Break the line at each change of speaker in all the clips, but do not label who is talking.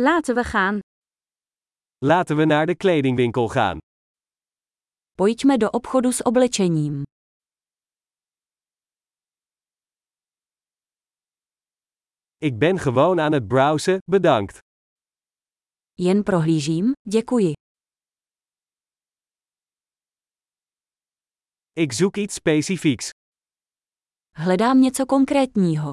Laten we gaan.
Laten we naar de kledingwinkel gaan.
Pojďme do obchodu s oblečením.
Ik ben gewoon aan het browsen, bedankt.
Jen prohlížím, děkuji.
Ik zoek iets specifieks.
Hledám něco konkrétního.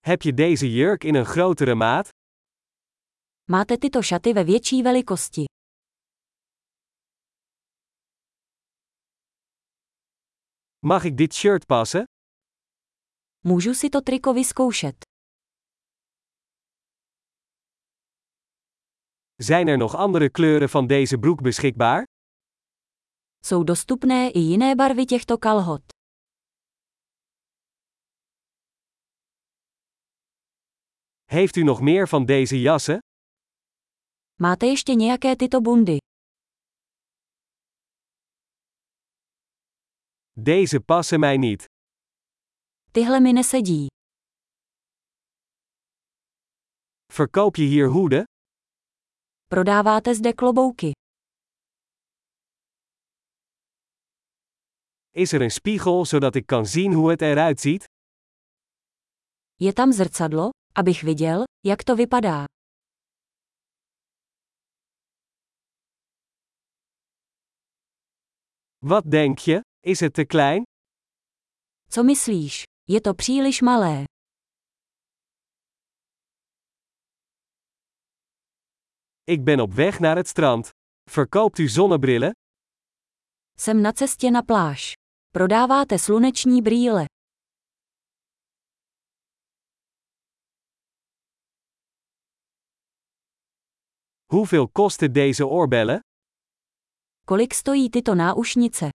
Heb je deze jurk in een grotere maat?
Máte tyto šaty ve větší velikosti.
Mag ik dit shirt passen?
Můžu si to triko vyzkoušet.
Zijn er nog andere kleuren van deze broek beschikbaar?
Jsou dostupné i jiné barvy těchto kalhot.
Heeft u nog meer van deze jassen?
Máte ještě nějaké tyto bundy?
Deze passen mij niet.
Tyhle mi nesedí.
Verkoop je hier hoeden?
Prodáváte zde klobouky.
Is er een spiegel zodat ik kan zien hoe het eruit ziet?
Je tam zrcadlo, abych viděl, jak to vypadá.
Wat denk je? Is het te klein?
Co myslíš? Je to příliš malé.
Ik ben op weg naar het strand. Verkoopt u zonnebrillen?
Jsem na cestě na pláž. Prodáváte sluneční brýle.
Hoeveel kosten deze oorbellen?
Kolik stojí tyto náušnice?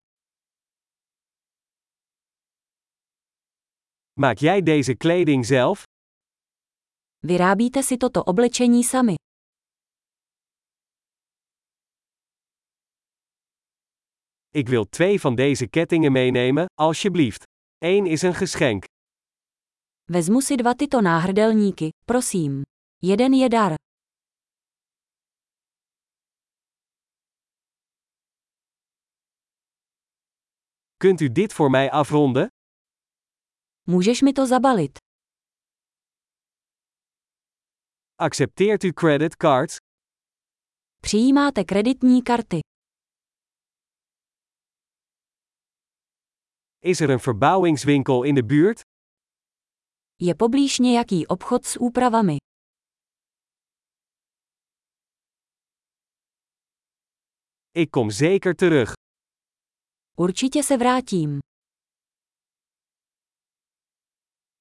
Maak jij deze kleding zelf?
Vyrábíte si toto oblečení sami.
Ik wil twee van deze kettingen meenemen, alsjeblieft. Eén is een geschenk.
Vezmu si dva tyto náhrdelníky, prosím. Jeden je dar.
Kunt u dit voor mij afronden?
Můžeš mi to zabalit.
Accepteert u creditcards?
Přijímáte kreditní karty.
Is er een verbouwingswinkel in de buurt?
Je poblíž nějaký obchod s úpravami.
Ik kom zeker terug.
Určitě se vrátím.